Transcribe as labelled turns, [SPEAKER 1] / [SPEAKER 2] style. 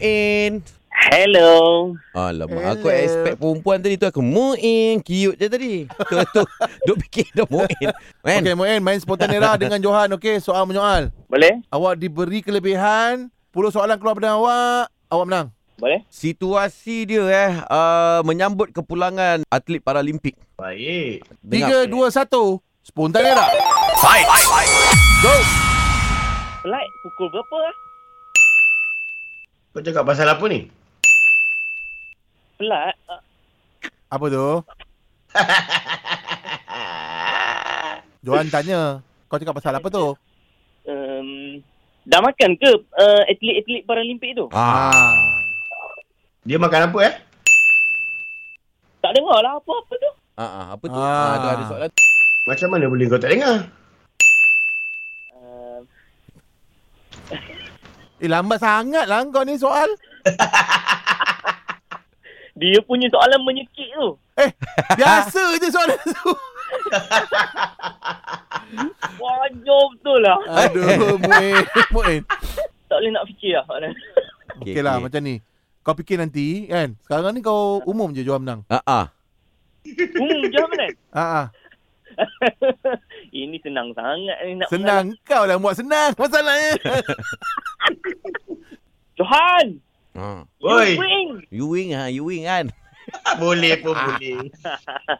[SPEAKER 1] Muin.
[SPEAKER 2] Hello.
[SPEAKER 1] Alamak, aku
[SPEAKER 3] Hello.
[SPEAKER 1] expect perempuan tadi tu aku Muin cute je tadi. Tu tu duk fikir dah Muin. Kan?
[SPEAKER 3] Okey, Muin main spontanera dengan Johan. Okey, soal menyoal.
[SPEAKER 2] Boleh?
[SPEAKER 3] Awak diberi kelebihan 10 soalan keluar pada awak, awak menang.
[SPEAKER 2] Boleh?
[SPEAKER 1] Situasi dia eh uh, menyambut kepulangan atlet Paralimpik.
[SPEAKER 2] Baik.
[SPEAKER 3] 3 2 1. Spontanera.
[SPEAKER 2] Flight pukul berapa? ah?
[SPEAKER 4] Kau cakap pasal apa ni?
[SPEAKER 2] Flight uh,
[SPEAKER 3] Apa tu? Johan tanya, kau cakap pasal apa tu?
[SPEAKER 2] um, dah makan ke uh, atlet-atlet Paralimpik tu?
[SPEAKER 1] Ah.
[SPEAKER 4] Dia makan apa eh?
[SPEAKER 2] Tak dengar lah apa-apa tu.
[SPEAKER 1] Ah, ah apa tu?
[SPEAKER 3] Ah.
[SPEAKER 1] Ah, tu ada soalan.
[SPEAKER 4] Macam mana boleh kau tak dengar?
[SPEAKER 2] Uh,
[SPEAKER 3] Eh lambat sangat lah kau ni soal.
[SPEAKER 2] dia punya soalan menyekik tu.
[SPEAKER 3] Biasa je soalan tu.
[SPEAKER 2] Wajar betul lah.
[SPEAKER 3] Aduh, Muin. Muin.
[SPEAKER 2] Tak boleh nak fikir lah. soalan.
[SPEAKER 3] Okey okay. lah macam ni. Kau fikir nanti kan. Sekarang ni kau umum je Johan menang.
[SPEAKER 1] Ah ah.
[SPEAKER 2] Hmm, jom kan?
[SPEAKER 3] Ha ah.
[SPEAKER 2] Ini senang sangat ni nak
[SPEAKER 3] Senang kau lah buat senang masalahnya.
[SPEAKER 2] mengalah. Johan!
[SPEAKER 1] Ah.
[SPEAKER 2] You
[SPEAKER 4] Oi,
[SPEAKER 2] win!
[SPEAKER 1] You wing ah, you wing kan.
[SPEAKER 4] boleh pun boleh.